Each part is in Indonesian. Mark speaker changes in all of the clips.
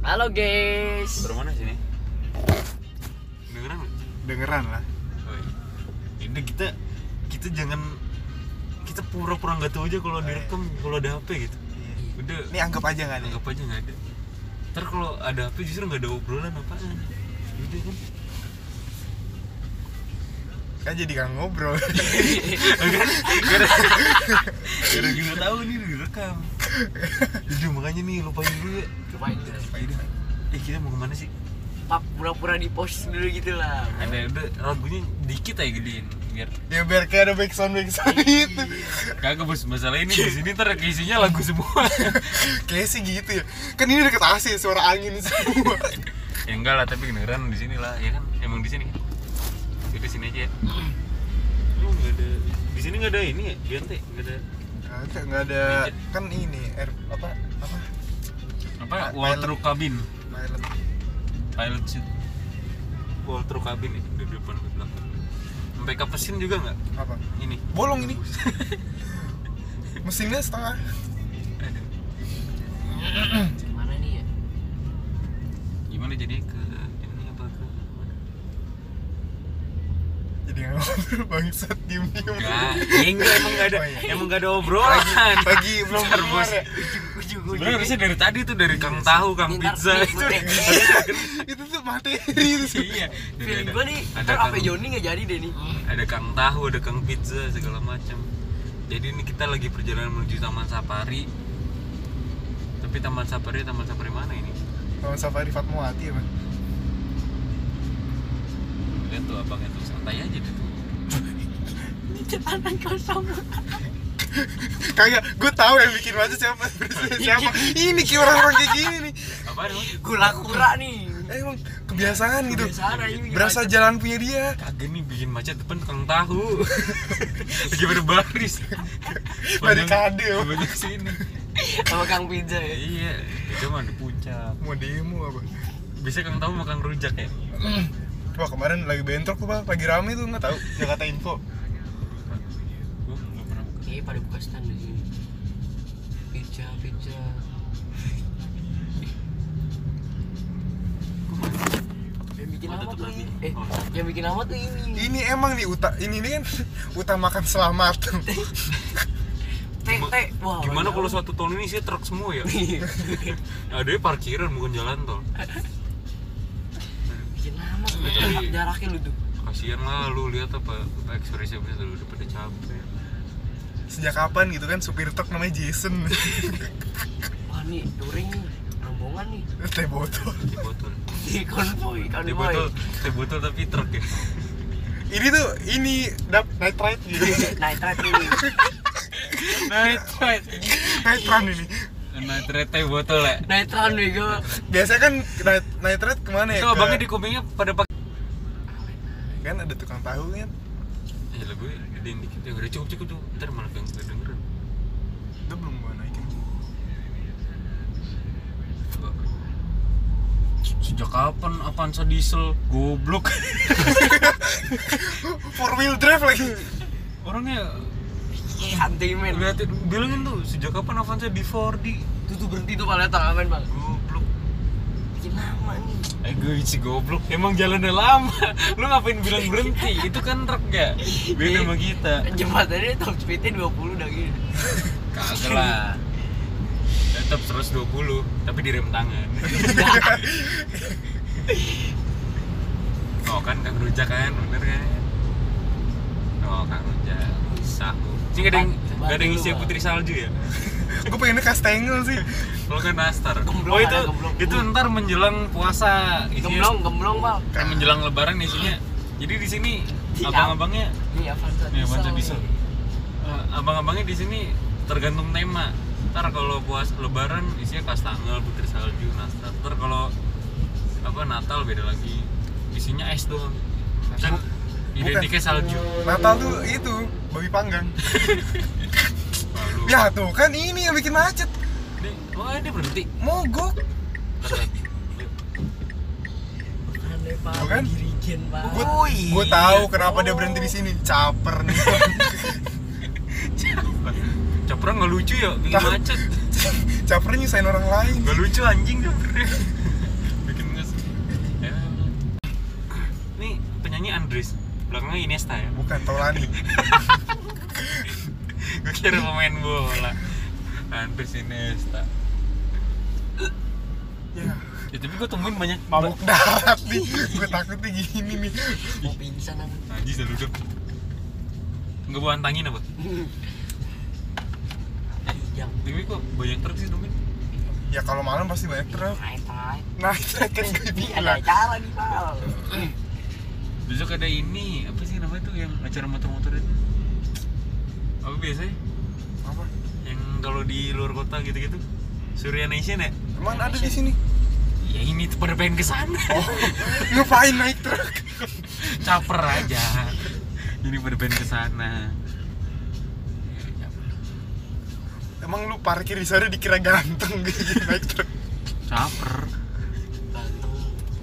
Speaker 1: Halo guys.
Speaker 2: Baru mana sini? Dengeran nggak?
Speaker 3: dengeran lah
Speaker 2: Woi. Ini kita kita jangan kita pura-pura nggak tahu aja kalau direkam kalau ada HP gitu. Udah
Speaker 3: ini anggap aja nggak nih
Speaker 2: anggap aja nggak ada. Ntar kalau ada HP justru nggak ada obrolan apaan. Udah kan?
Speaker 3: kan jadi nggak ngobrol
Speaker 2: Gara-gara tahu nih direkam. Jujur makanya nih lupain dulu ya.
Speaker 1: Coba itu.
Speaker 2: Udah. Eh kita mau kemana sih?
Speaker 1: Pap pura-pura di pos dulu gitu lah.
Speaker 2: Ada udah lagunya dikit aja gedein biar
Speaker 3: ya biar kayak ada back sound back sound
Speaker 2: Iya.
Speaker 3: gitu
Speaker 2: kagak bos masalah ini di sini ntar isinya lagu semua
Speaker 3: kayak sih gitu ya kan ini deket AC suara angin semua
Speaker 2: ya enggak lah tapi kedengeran di sini lah ya kan emang di sini kan jadi sini aja ya lu nggak ada di sini nggak ada ini ya Biante nggak ada
Speaker 3: Nggak ada- nggak ada kan ini air apa apa
Speaker 2: apa
Speaker 3: Ah,
Speaker 2: Walter
Speaker 3: pilot.
Speaker 2: cabin
Speaker 3: Pilot.
Speaker 2: pilot suit Walter cabin ya di depan ke belakang sampai ke mesin juga nggak
Speaker 3: apa
Speaker 2: ini
Speaker 3: bolong ini mesinnya setengah
Speaker 2: Aduh,
Speaker 1: Gimana nih ya?
Speaker 2: gimana jadi ke ini apa ke mana?
Speaker 3: jadi nggak ngobrol bangsat diem diem
Speaker 2: Nggak, ya enggak emang nggak ada
Speaker 3: Oh, iya.
Speaker 2: emang nggak ada obrolan
Speaker 3: pagi belum
Speaker 2: Bentar,
Speaker 3: keluar
Speaker 2: bos.
Speaker 3: ya.
Speaker 2: Sebenarnya harusnya dari tadi tuh dari Kang Tahu, Kang
Speaker 1: Ntar
Speaker 2: Pizza
Speaker 1: nih,
Speaker 2: itu.
Speaker 1: gue
Speaker 2: dari-
Speaker 3: itu tuh materi itu
Speaker 2: Iya. dari
Speaker 1: Feeling
Speaker 2: ada-
Speaker 1: gue nih,
Speaker 2: ada
Speaker 1: ntar
Speaker 2: Kang-
Speaker 1: apa Joni nggak jadi deh nih.
Speaker 2: ada kang tahu ada kang pizza segala macam jadi ini kita lagi perjalanan menuju taman safari tapi taman safari taman safari mana ini
Speaker 3: sama Safari Fatmawati ya Bang?
Speaker 2: lihat tuh abangnya tuh santai aja deh tuh
Speaker 1: Ini jalanan kosong.
Speaker 3: kagak gue tahu yang bikin macet siapa siapa ini kayak orang-orang kayak gini nih
Speaker 2: apa namanya
Speaker 1: Gula kura nih.
Speaker 3: emang kebiasaan Iya. gitu
Speaker 1: Kebiasaan anjing bikin
Speaker 3: berasa
Speaker 1: macet.
Speaker 3: jalan punya dia
Speaker 2: kagak nih bikin macet depan kang tahu lagi berbaris Padahal-
Speaker 3: Balik kade, Om.
Speaker 2: banyak sini
Speaker 1: sama Kang Pizza
Speaker 2: Ya,
Speaker 1: ya.
Speaker 2: iya itu mah di puncak
Speaker 3: mau demo apa
Speaker 2: bisa kang tahu makan rujak ya
Speaker 3: wah kemarin lagi bentrok tuh bang lagi rame tuh nggak tahu Jakarta Info
Speaker 2: Gua nggak pernah makan.
Speaker 1: Kayaknya pada buka stand di sini. Pizza, pizza.
Speaker 2: Gua makan.
Speaker 1: Yang bikin
Speaker 2: Oh,
Speaker 1: apa
Speaker 2: tutup
Speaker 1: tuh
Speaker 2: lagi.
Speaker 1: ini? Eh,
Speaker 2: Oh.
Speaker 1: yang bikin apa tuh ini?
Speaker 3: ini emang nih uta ini nih kan utamakan selamat
Speaker 1: Teh, teh. Wah.
Speaker 2: gimana
Speaker 1: orang
Speaker 2: kalau
Speaker 1: jauh.
Speaker 2: suatu tahun ini sih truk semua ya
Speaker 1: Iya.
Speaker 2: ada parkiran bukan jalan tol
Speaker 1: bikin lama tuh. Jaraknya lu tuh.
Speaker 2: kasihan lah lu lihat apa apa ekspresi ekspresi lu udah pada capek
Speaker 3: sejak kapan gitu kan supir truk namanya Jason
Speaker 1: Wah nih, touring nih, rombongan nih.
Speaker 3: teh botol
Speaker 2: di botol
Speaker 1: Di konvoy,
Speaker 2: di
Speaker 1: konvoy.
Speaker 2: botol di botol tapi truk ya
Speaker 3: ini tuh ini dap night ride gitu
Speaker 1: Nitrate ini.
Speaker 2: night ride
Speaker 3: night run ini
Speaker 2: night ride teh botol ya
Speaker 1: Nitran bego.
Speaker 3: biasanya kan night, night ride kemana ya
Speaker 2: itu
Speaker 3: Ke-
Speaker 2: abangnya di kupingnya pada pakai
Speaker 3: kan ada tukang tahu kan
Speaker 2: ya lagu gedein dikit ya udah cukup cukup cukup ntar malah gak gak dengeran
Speaker 3: itu belum gua naikin
Speaker 2: Coba. sejak kapan Avanza diesel goblok
Speaker 3: four wheel drive lagi
Speaker 2: orangnya
Speaker 1: Hantimen.
Speaker 2: liatin bilangin tuh sejak kapan Avanza di 4D
Speaker 1: Tuh tuh berhenti tuh kalau datang aman, Bang.
Speaker 2: goblok
Speaker 1: Bikin lama nih.
Speaker 2: Eh gue si goblok, emang jalannya lama Lu ngapain bilang berhenti, itu kan truk gak? Beda sama kita
Speaker 1: Jembatannya top speednya 20 dah gitu.
Speaker 2: Kagak lah Tetep 120, tapi direm tangan Oh kan Kang Rujak kan, bener kan? Oh Kang Rujak, bisa Sih gak ada yang,
Speaker 1: Coba
Speaker 2: gak ada yang
Speaker 1: dulu,
Speaker 2: isi
Speaker 1: Bang.
Speaker 2: putri salju ya?
Speaker 3: gue pengennya kastengel sih
Speaker 2: Lo kan nastar
Speaker 1: Gemblong
Speaker 2: Oh itu,
Speaker 1: ada, gemblong.
Speaker 2: itu ntar menjelang puasa isinya,
Speaker 1: Gemblong, gemblong, Bang.
Speaker 2: Kan menjelang lebaran isinya Jadi di sini
Speaker 1: Siap.
Speaker 2: abang-abangnya
Speaker 1: Nih Avanza
Speaker 2: Nih, Avanza
Speaker 1: diesel.
Speaker 2: diesel. Iya, Eh, abang-abangnya di sini tergantung tema. Ntar kalau puas Lebaran isinya kastangel, putri salju, nastar. Ntar kalau apa Natal beda lagi. Isinya es doang. Kan identiknya salju.
Speaker 3: Natal tuh itu babi panggang
Speaker 2: Lalu,
Speaker 3: ya tuh kan ini yang bikin macet
Speaker 2: ini, wah ini berhenti.
Speaker 3: mogok
Speaker 2: Ntar lihat.
Speaker 1: Aneh, Pak.
Speaker 3: Tuh kan?
Speaker 1: Dirigen, Pak.
Speaker 3: gue
Speaker 1: Oh,
Speaker 3: gue
Speaker 2: iya.
Speaker 3: tahu kenapa dia
Speaker 1: Oh.
Speaker 3: berhenti di sini caper nih
Speaker 2: Caperan nggak lucu ya, bikin
Speaker 3: Tahu.
Speaker 2: macet.
Speaker 3: caper nyusahin orang lain
Speaker 2: Nggak Ya, lucu anjing tuh. Rodris belakangnya Iniesta ya
Speaker 3: bukan Taulani
Speaker 2: gue kira pemain bola hampir si Iniesta
Speaker 3: ya
Speaker 2: ya tapi gue tungguin banyak
Speaker 3: mabuk darat nih gue takutnya gini nih
Speaker 1: mau pingsan aku
Speaker 2: Najis dah duduk Enggak buat tangin apa?
Speaker 1: yang
Speaker 2: Tapi kok banyak truk sih Domin?
Speaker 3: ya kalau malam pasti banyak truk
Speaker 1: naik naik
Speaker 3: nah itu kan gue
Speaker 1: ini ada
Speaker 3: bilang
Speaker 1: acara nih pal
Speaker 2: Besok ada ini, apa sih namanya tuh yang acara motor-motor itu? Apa biasanya?
Speaker 3: apa
Speaker 2: Yang kalau di luar kota gitu-gitu? Surya Nation ya?
Speaker 3: emang ada di sini
Speaker 2: Ya ini tuh pada pengen kesana
Speaker 3: oh ngapain naik truk
Speaker 2: Caper aja Ini pada pengen Ya, kesana
Speaker 3: emang lu parkir di sana dikira ganteng gitu naik truk
Speaker 2: Caper
Speaker 1: ganteng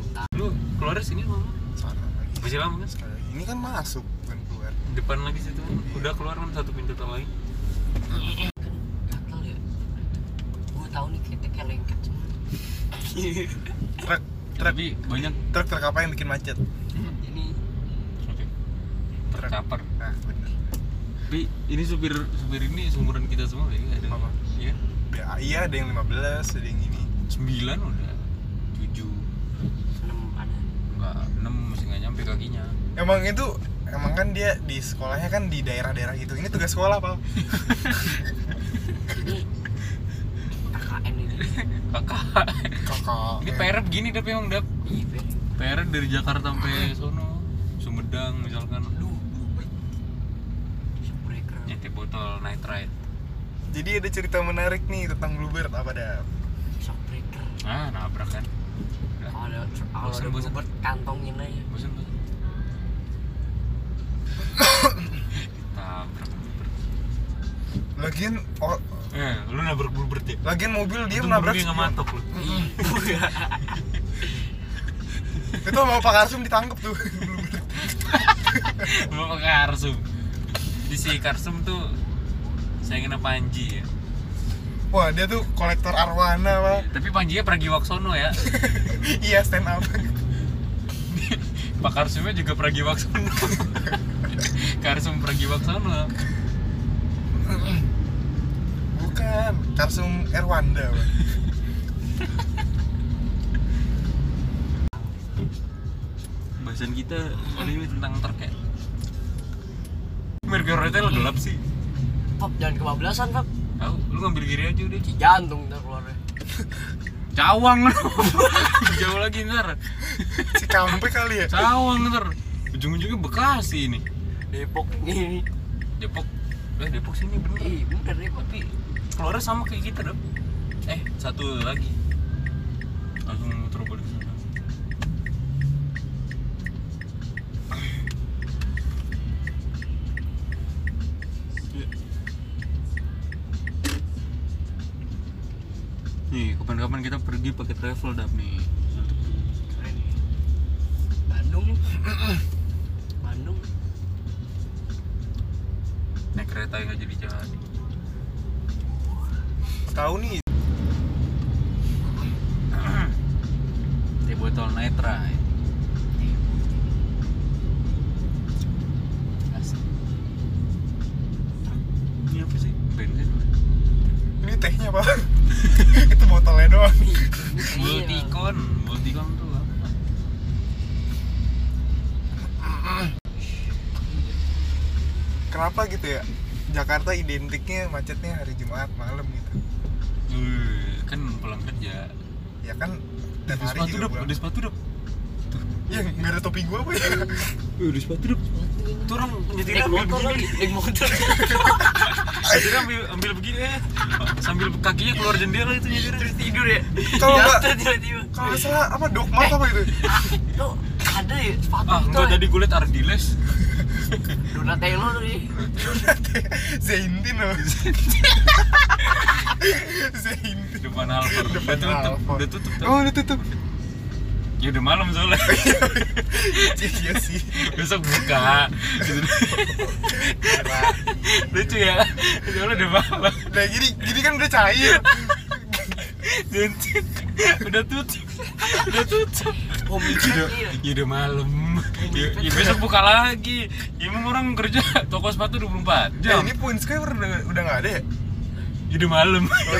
Speaker 1: utang
Speaker 2: Lu keluar sini mama?
Speaker 3: Sana lagi.
Speaker 2: Masih lama kan?
Speaker 3: Sekali. ini kan masuk bukan keluar
Speaker 2: Depan lagi situ Udah keluar kan satu pintu tol lagi
Speaker 1: kan gatel ya gue tahu nih keteknya lengket semua
Speaker 3: truk truk
Speaker 2: Tapi banyak
Speaker 3: truk truk apa yang bikin macet
Speaker 1: ini
Speaker 2: Oke
Speaker 3: Truk.
Speaker 2: Tercaper
Speaker 3: nah bener
Speaker 2: Tapi ini supir supir ini seumuran kita semua ya ada.
Speaker 3: Apa?
Speaker 2: Iya.
Speaker 3: BAI ada yang 15 ada yang ini
Speaker 2: Sembilan udah. Tujuh.
Speaker 1: enam ada
Speaker 2: Enggak enam masih nggak nyampe kakinya.
Speaker 3: emang itu emang kan dia di sekolahnya kan di daerah-daerah gitu ini tugas sekolah pak
Speaker 1: ini KKN ini
Speaker 2: Kakak.
Speaker 3: kakak
Speaker 2: Ini
Speaker 3: eh,
Speaker 2: PR begini tapi emang dap.
Speaker 1: iya Fer.
Speaker 2: PR dari Jakarta sampai sono. Sumedang misalkan.
Speaker 1: lu lu baik breaker
Speaker 2: Nyetir botol nitrite.
Speaker 3: jadi ada cerita menarik nih tentang Bluebird apa dah
Speaker 1: shock breaker
Speaker 2: Ah nabrak kan. Udah.
Speaker 1: kalau ada kalau
Speaker 2: Bosen,
Speaker 1: ada
Speaker 2: bosen.
Speaker 1: bubur kantongin aja
Speaker 2: Bosan bosan. Ditabrak.
Speaker 3: lagian oh,
Speaker 2: Eh, lu nabrak bluebird ya?
Speaker 3: lagian mobil dia
Speaker 2: Untung
Speaker 3: menabrak
Speaker 2: Burberry nggak
Speaker 3: spion.
Speaker 2: matok lu.
Speaker 3: itu sama Pak Karsum ditangkep tuh Bluebird
Speaker 2: Bawa ke Karsum Di si Karsum tuh saya kena Panji ya
Speaker 3: wah dia tuh kolektor arwana pak
Speaker 2: Tapi Panjinya Pragiwaksono ya
Speaker 3: iya stand up
Speaker 2: Pak Karsumnya juga Pragiwaksono Karsum Pragiwaksono
Speaker 3: bukan Karsum Erwanda pak
Speaker 2: Bahasan kita kali ini tentang truk ya Merger retail gelap sih
Speaker 1: pop jangan kebablasan pop
Speaker 2: Tahu, lu ngambil kiri aja udah
Speaker 1: si jantung ntar keluarnya
Speaker 2: Cawang lu Jauh lagi ntar
Speaker 3: si Kampe kali ya
Speaker 2: Cawang ntar Ujung-ujungnya Bekasi ini
Speaker 1: depok ini
Speaker 2: Depok Eh Depok sini bener
Speaker 1: ih bener deh tapi
Speaker 2: keluarnya sama kayak kita dong eh satu lagi langsung muter balik ke sana Iya. Nih, kapan-kapan kita pergi pakai travel dap nih.
Speaker 1: keren ya. Bandung Bandung
Speaker 2: Naik kereta yang nggak jadi jadi.
Speaker 3: tahu nih
Speaker 2: Di botol nitra. Asik. Ini apa sih? Bensin.
Speaker 3: ini tehnya pak itu botolnya doang
Speaker 2: Iya.
Speaker 1: Iya.
Speaker 2: Multicon, Multicon tuh apa?
Speaker 3: kenapa gitu ya Jakarta identiknya macetnya hari Jumat malam gitu
Speaker 2: Eh, kan pulang kerja.
Speaker 3: ya kan tiap
Speaker 2: Ada
Speaker 3: hari
Speaker 2: sepatu
Speaker 3: juga
Speaker 2: dap,
Speaker 3: pulang
Speaker 2: ada sepatu dap.
Speaker 3: ya nggak ada topi gua apa ya
Speaker 2: Eh, ada sepatu dap. Tuh orang nyetirnya
Speaker 1: naik
Speaker 2: ambil
Speaker 1: motor lagi
Speaker 2: begini.
Speaker 1: naik motor
Speaker 2: Nyetirnya ambil ambil begini eh. Sambil kakinya keluar jendela itu nyetirnya.
Speaker 1: terus tidur ya
Speaker 3: Kalau nggak-
Speaker 1: Jatuh tiba-tiba
Speaker 3: kalau nggak salah apa dokmat apa gitu?
Speaker 1: Ah, lu
Speaker 3: itu
Speaker 1: ada ya sepatu
Speaker 2: Ah,
Speaker 1: itu
Speaker 2: enggak
Speaker 1: ya?
Speaker 2: tadi gue liat Ardiles.
Speaker 1: Donatello tuh ya.
Speaker 3: Zaintin loh Zaintin
Speaker 2: Depan Alper. Udah
Speaker 3: Depan
Speaker 2: tutup,
Speaker 3: Alphard.
Speaker 2: udah tutup.
Speaker 3: oh
Speaker 2: tuh.
Speaker 3: udah tutup
Speaker 2: Ya udah malam soalnya.
Speaker 3: iya sih
Speaker 2: Besok buka. Lucu ya. Soalnya udah malam.
Speaker 3: nah gini gini kan udah cair
Speaker 2: Jentit. Udah tutup. Udah tutup.
Speaker 1: Homicide
Speaker 2: Udah-
Speaker 1: iya.
Speaker 2: ya udah malam ya,
Speaker 1: Homicide.
Speaker 2: ya besok buka lagi ya emang orang kerja toko sepatu 24
Speaker 3: Eh,
Speaker 2: jam
Speaker 3: ini Pun Square udah udah nggak ada ya?
Speaker 2: ya udah malam
Speaker 3: Oh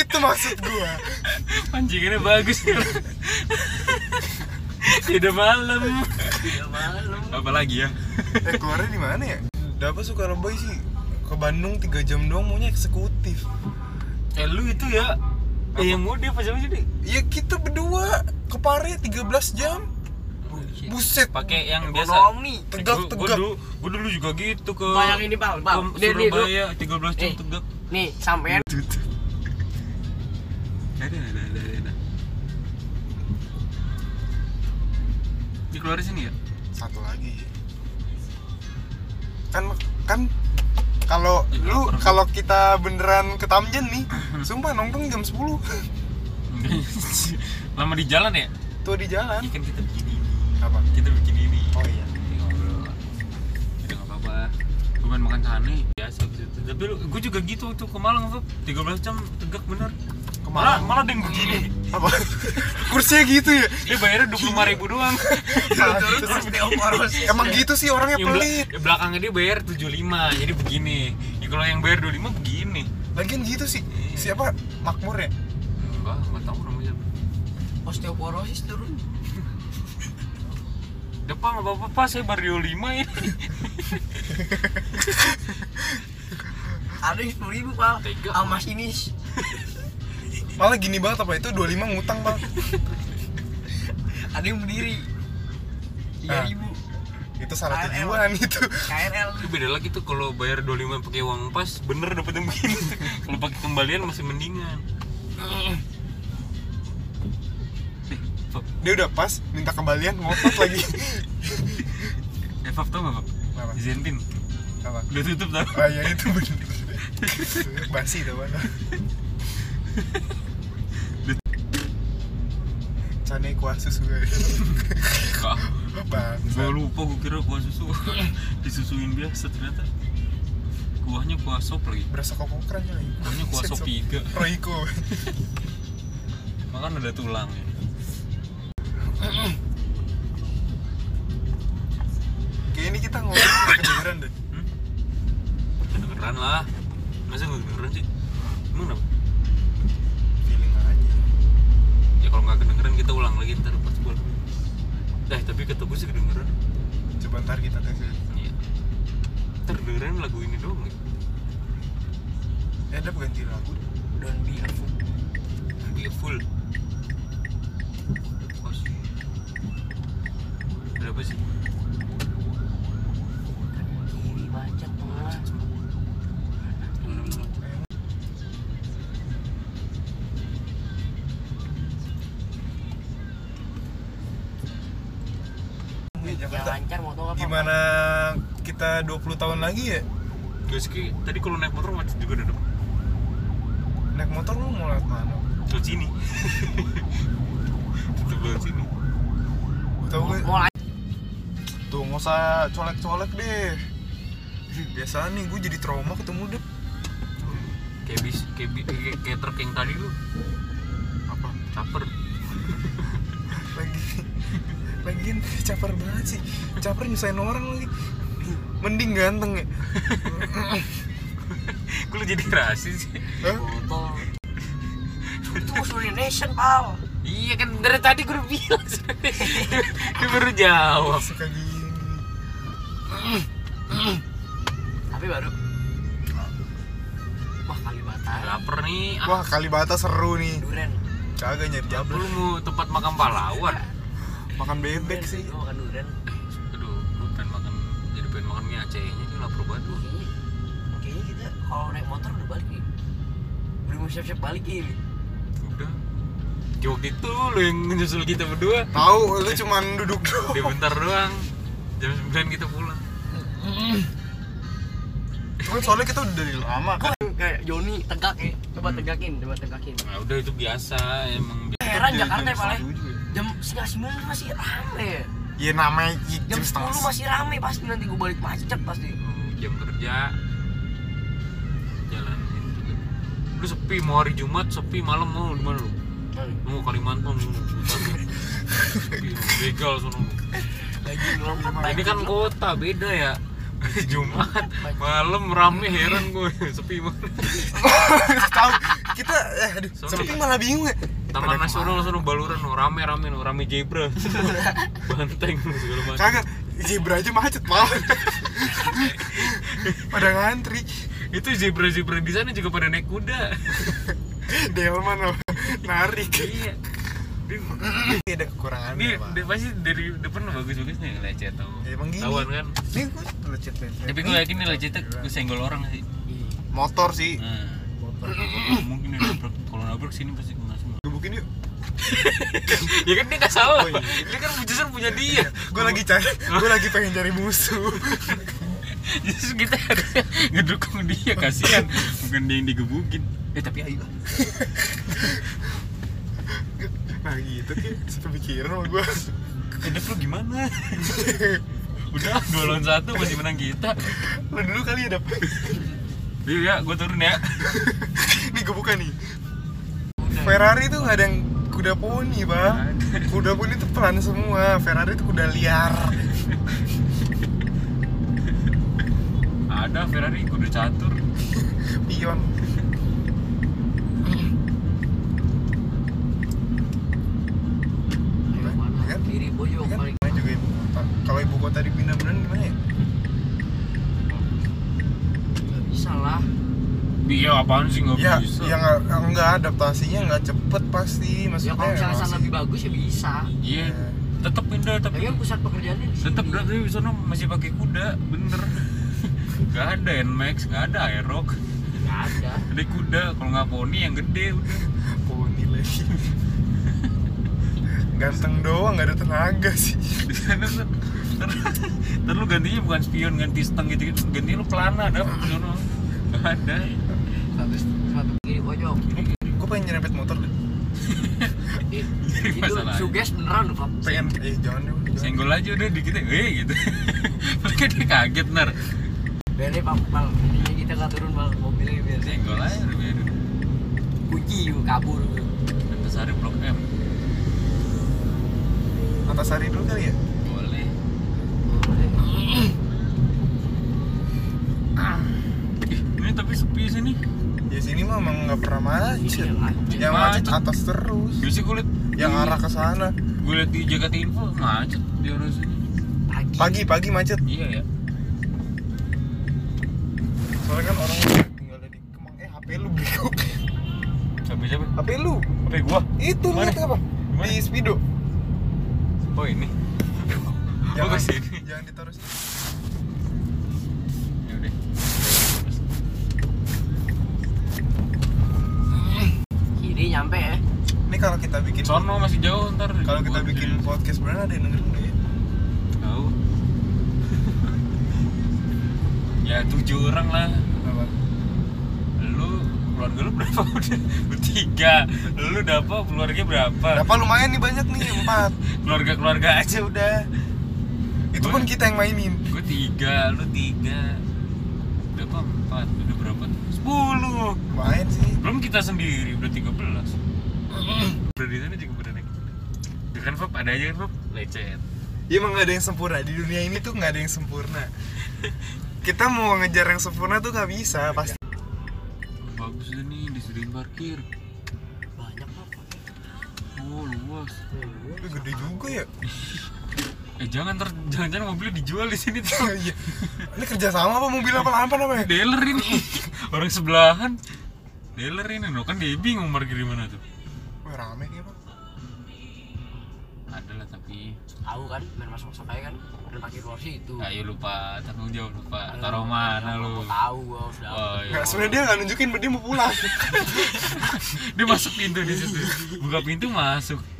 Speaker 3: itu maksud gua.
Speaker 2: pancingannya bagus ya Ya udah malam
Speaker 1: Udah malam.
Speaker 2: apalagi ya
Speaker 3: Eh, keluarnya di mana ya? Dapat suka lebay sih. Ke Bandung 3 jam doang maunya eksekutif.
Speaker 2: eh lu itu ya eh yang muda apa siapa sih Dik?
Speaker 3: Ya kita berdua ke Pare 13 jam.
Speaker 1: Bullshit.
Speaker 3: Buset.
Speaker 2: pakai yang biasa
Speaker 1: Ekonomi.
Speaker 3: Tegak
Speaker 2: Gue
Speaker 3: tegak.
Speaker 2: dulu, gua dulu juga gitu ke
Speaker 1: Bayangin nih, Bal, Bal.
Speaker 2: ke
Speaker 1: Nih, nih, lu.
Speaker 2: Surabaya 13 jam
Speaker 3: Eh.
Speaker 1: Nih.
Speaker 2: tegak.
Speaker 1: Nih, sampean
Speaker 2: Ada ada ada ada. Dikeluarin sini ya?
Speaker 3: Satu lagi. Kan kan kalau
Speaker 2: Ya,
Speaker 3: lu
Speaker 2: orang-
Speaker 3: kalau kita beneran ke Tamjen nih, sumpah nongkrong jam 10.
Speaker 2: Lama di jalan ya?
Speaker 3: Tuh di jalan.
Speaker 2: Ikan kita bikin ini.
Speaker 3: Apa?
Speaker 2: Kita bikin ini.
Speaker 3: Oh iya.
Speaker 2: Ini ngobrol. Udah nggak apa-apa. Gue main makan sana biasa gitu. Tapi lu, gue juga gitu waktu ke Malang tuh 13 jam tegak bener.
Speaker 3: Ke
Speaker 2: Malah,
Speaker 3: Malang.
Speaker 2: malah ada yang begini.
Speaker 3: Apa? Kursinya gitu ya.
Speaker 2: Dia bayarnya 25 ribu doang.
Speaker 3: Emang gitu sih orangnya
Speaker 2: Yang bela-
Speaker 3: pelit.
Speaker 2: ya belakangnya dia bayar 75 jadi begini ya, kalau yang bayar 25 begini
Speaker 3: Lagian gitu sih. Siapa? Makmur ya?
Speaker 2: enggak enggak tahu namanya
Speaker 1: osteoporosis turun.
Speaker 2: depan nggak apa-apa pak saya baru 25 ini
Speaker 1: Ada yang 10 ribu, Pak.
Speaker 2: Tega.
Speaker 1: Sama sinis.
Speaker 3: Malah gini banget apa itu 25 ngutang, Bang.
Speaker 1: Ada yang berdiri.
Speaker 3: Ah.
Speaker 1: 3 ribu.
Speaker 3: itu salah
Speaker 1: KRL.
Speaker 3: tujuan itu.
Speaker 1: KRL.
Speaker 2: itu beda lagi tuh kalau bayar 25 pakai uang pas bener dapet yang begini kalau pakai kembalian masih mendingan Eh, Fab.
Speaker 3: Dia udah pas minta kembalian ngotot lagi.
Speaker 2: Eh, Fab tau gak, Fab?
Speaker 3: Apa?
Speaker 2: Zenpin
Speaker 3: Apa?
Speaker 2: Udah tutup tau
Speaker 3: Ah, ya itu bener. Basi tuh, Bang. Cane kuah susu gue.
Speaker 2: Kak,
Speaker 3: Bang.
Speaker 2: Gue lupa, gue kira kuah susu Disusuin biasa ternyata Kuahnya kuah sop lagi
Speaker 3: Berasa kok keren lagi.
Speaker 2: Kuahnya kuah sop iga
Speaker 3: Roiko.
Speaker 2: Makan ada tulang ya.
Speaker 3: Kayak ini kita ngobrol nggak kedengeran deh.
Speaker 2: Hmm? Kedengeran lah. Masa nggak kedengeran sih? Emang kenapa?
Speaker 3: Feeling aja.
Speaker 2: Ya kalau nggak kedengeran kita ulang lagi ntar pas gua. Dah, tapi kata gua sih kedengeran.
Speaker 3: Coba ntar kita tes. ya.
Speaker 2: Iya. Ntar kedengeran lagu ini doang ya.
Speaker 3: Eh, ada ganti lagu.
Speaker 1: Don't be a fool.
Speaker 2: Dia full. Bos. Ada apa sih?
Speaker 1: Kiri bajak tengah.
Speaker 3: Eh,
Speaker 1: Yang
Speaker 3: Jakarta.
Speaker 1: lancar mau tau apa?
Speaker 3: Gimana kita 20 tahun lagi ya?
Speaker 2: Guys, ki, tadi kalau naik motor macet juga udah
Speaker 3: Naik motor lu mau lewat mana?
Speaker 2: Lewat sini. Tetep lewat sini.
Speaker 3: Tahu gue.
Speaker 1: Mau lancar.
Speaker 3: Tuh nggak usah colek-colek deh. Biasa nih gue jadi trauma ketemu dep.
Speaker 2: Kayak bis, kayak, bi- kayak, kayak truk yang tadi lu,
Speaker 3: Apa?
Speaker 2: caper.
Speaker 3: Lagi. Lagian caper banget sih. Caper nyusahin orang lagi. Mending ganteng ya.
Speaker 2: Kok lu jadi rasis sih?
Speaker 3: Hah?
Speaker 1: Botol. Itu usulnya nation, Pal.
Speaker 2: Iya kan dari tadi gue udah bilang Dia baru jawab
Speaker 3: Suka gini.
Speaker 1: Tapi baru. Wah, kali batal.
Speaker 2: Laper nih ah,
Speaker 3: Wah, Kalibata seru nih.
Speaker 1: Duren.
Speaker 3: Kagak nyari
Speaker 2: Apa
Speaker 3: jabel.
Speaker 2: lu mau tempat makan pahlawan?
Speaker 3: Makan bebek sih.
Speaker 1: Gua makan duren.
Speaker 2: Aduh, gue pengen makan Jadi pengen makan mie Acehnya Ini lapar banget gue
Speaker 1: Kayaknya, kayaknya kita kalau naik motor udah balik nih. Udah mau siap-siap balik ini.
Speaker 2: Udah Kayak waktu itu lu yang nyusul kita berdua
Speaker 3: Tahu lu cuman duduk doang.
Speaker 2: Dia bentar doang Jam 9 kita pulang
Speaker 3: Cuman soalnya kita udah dari lama kan.
Speaker 1: kayak Joni tegak ya. Coba tegakin, coba tegakin.
Speaker 2: Nah udah itu biasa emang bi-
Speaker 1: Heran
Speaker 3: Jam-
Speaker 1: Jakarta ya,
Speaker 3: jam
Speaker 1: Pal. ya.
Speaker 3: setengah tujuh ya.
Speaker 1: Jam setengah sembilan masih rame.
Speaker 3: Ya namanya i-
Speaker 1: Jam
Speaker 3: jam setengah.
Speaker 1: sepuluh masih rame pasti nanti gua balik macet pasti.
Speaker 2: Hmm, Jam kerja Jalan ini juga
Speaker 1: Hmm.
Speaker 2: Lu sepi mau hari Jumat sepi malam mau dimana lu? Lu mau Kalimantan lu mau hutan. begal sono
Speaker 3: lagi
Speaker 1: Lompat
Speaker 3: lompat
Speaker 2: ini kan kota beda ya Jumat malam rame heran gue sepi banget
Speaker 3: tahu kita eh, aduh
Speaker 2: Sorry.
Speaker 3: sepi malah bingung ya
Speaker 2: Taman
Speaker 3: Pada
Speaker 2: Nasional sono baluran no, rame rame no, rame zebra banteng no, segala
Speaker 3: kemana?
Speaker 2: macam
Speaker 3: kagak zebra aja macet malah pada ngantri
Speaker 2: itu zebra zebra di sana juga pada naik kuda
Speaker 3: Dewa mana narik
Speaker 2: iya Dia-
Speaker 3: Ini ada kekurangan
Speaker 2: ini dia pasti dari depan bagus bagus nih lecet tau
Speaker 3: emang gini
Speaker 2: Tauan kan
Speaker 3: ini gue lecet lecet
Speaker 2: tapi gue yakin nih lecetnya gue senggol orang sih
Speaker 3: motor sih
Speaker 2: nah, mungkin dia nabrak kalau nabrak sini pasti kena semua
Speaker 3: gebukin yuk
Speaker 2: ya kan dia nggak salah
Speaker 3: Oh, iya.
Speaker 2: dia kan justru punya dia
Speaker 3: gue lagi cari gue lagi pengen cari musuh
Speaker 2: justru kita harusnya ngedukung dia kasihan bukan dia yang digebukin eh tapi ayo
Speaker 3: nah gitu kayak sepemikiran sama gue
Speaker 2: kedep lu gimana udah dua lawan satu masih menang kita
Speaker 3: lo dulu kali ya dap
Speaker 2: yuk ya gue turun ya
Speaker 3: ini gebukan nih Ferrari tuh nggak ada yang kuda poni bang kuda poni tuh pelan semua Ferrari tuh kuda liar
Speaker 2: ada Ferrari kudu catur
Speaker 3: pion
Speaker 1: Mana?
Speaker 3: Kan?
Speaker 1: Kiri boyong
Speaker 3: Ini kan
Speaker 1: paling.
Speaker 3: namanya juga ibu kota kalau ibu kota dipindah beneran gimana ya
Speaker 1: Gak bisa lah. Ya,
Speaker 2: iya apaan
Speaker 1: Oh,
Speaker 2: sih nggak
Speaker 3: ya
Speaker 2: bisa
Speaker 3: ya nggak nggak adaptasinya nggak cepet pasti
Speaker 1: Ya
Speaker 3: maksudnya
Speaker 1: kalau misalnya sana
Speaker 3: masih-
Speaker 1: lebih bagus ya bisa.
Speaker 2: iya tetep pindah
Speaker 1: Tapi
Speaker 2: tapi
Speaker 1: kan pusat pekerjaannya di sini.
Speaker 2: tetep berarti di sana masih pakai kuda bener nggak ada Nmax nggak ada Aerox
Speaker 1: Gak ada.
Speaker 2: ada kuda kalau nggak poni yang gede udah
Speaker 3: poni lagi ganteng doang nggak ada tenaga sih
Speaker 2: di sana tuh ter, ter lu gantinya bukan spion ganti stang gitu gitu ganti lu pelana ada di sana nggak ada
Speaker 1: Bagus. Satu kiri boyong.
Speaker 3: gue pengen nyerempet motor deh
Speaker 1: Eh,
Speaker 2: Ini
Speaker 1: Itu
Speaker 2: masalahnya.
Speaker 1: suges beneran Pak.
Speaker 3: pengen eh jangan deh jangan.
Speaker 2: senggol aja udah dikit ya eh gitu mereka dia kaget ner
Speaker 1: Beli Pak Bang. Ini kita nggak turun Bang mobilnya biar
Speaker 2: senggol aja udah biarin
Speaker 1: kunci yuk, kabur.
Speaker 2: Antasari blok M
Speaker 3: Antasari dulu kali ya
Speaker 2: boleh Ih, ini tapi sepi sini
Speaker 3: ya sini mah emang nggak pernah
Speaker 1: Iya Iya. lah.
Speaker 3: macet yang macet atas terus
Speaker 2: biasanya kulit
Speaker 3: yang arah ke sana
Speaker 2: gue liat di Jakarta Info macet di arah sini
Speaker 1: Pagi.
Speaker 3: pagi pagi macet
Speaker 2: iya ya
Speaker 3: soalnya kan orang tinggal di Kemang eh HP lu bego
Speaker 2: capek capek
Speaker 3: HP lu
Speaker 2: apa gua
Speaker 3: itu lu
Speaker 2: Mana?
Speaker 3: lihat apa
Speaker 2: Mana?
Speaker 3: di speedo
Speaker 2: oh ini oh ke sini
Speaker 3: jangan ditaruh sini
Speaker 2: ya udah
Speaker 1: Kiri nyampe ya.
Speaker 3: ini kalau kita bikin
Speaker 2: sono masih jauh ntar
Speaker 3: kalau kita bikin podcast beneran ada yang dengerin nggak ya
Speaker 2: tahu ya tujuh orang lah
Speaker 3: apa
Speaker 2: lu keluarga lu berapa udah bertiga lu dapa keluarga berapa
Speaker 3: Berapa lumayan nih banyak nih empat
Speaker 2: keluarga keluarga aja udah
Speaker 3: itu pun kita yang mainin
Speaker 2: gue tiga lu tiga dapa empat udah berapa tuh? sepuluh
Speaker 3: lumayan sih
Speaker 2: belum kita sendiri udah tiga belas udah di sana juga udah naik ya kan Fab ada aja kan Fab lecet
Speaker 3: Ya, emang gak ada yang sempurna di dunia ini tuh nggak ada yang sempurna kita mau ngejar yang sempurna tuh gak bisa pasti
Speaker 2: bagus juga nih disediain parkir
Speaker 1: Banyak Pak.
Speaker 2: oh luas
Speaker 3: Tapi gede juga ya
Speaker 2: eh jangan ter jangan jangan mobilnya dijual di sini tuh
Speaker 3: Iya. ini kerja sama apa mobil apa lampan apa ya
Speaker 2: dealer ini orang sebelahan dealer ini no kan dia bingung parkir di mana tuh
Speaker 3: Wah, rame kayaknya Pak.
Speaker 2: ada lah tapi
Speaker 1: Tahu kan main masuk-masuk aja kan. Dan pakai keluar situ.
Speaker 2: ayo ya lupa tanggung jawab lupa taruh mana lu
Speaker 1: Aku tahu gua sudah.
Speaker 2: Oh, iya.
Speaker 3: Nggak, sebenarnya dia nggak nunjukin, dia mau pulang.
Speaker 2: dia masuk pintu di situ buka pintu masuk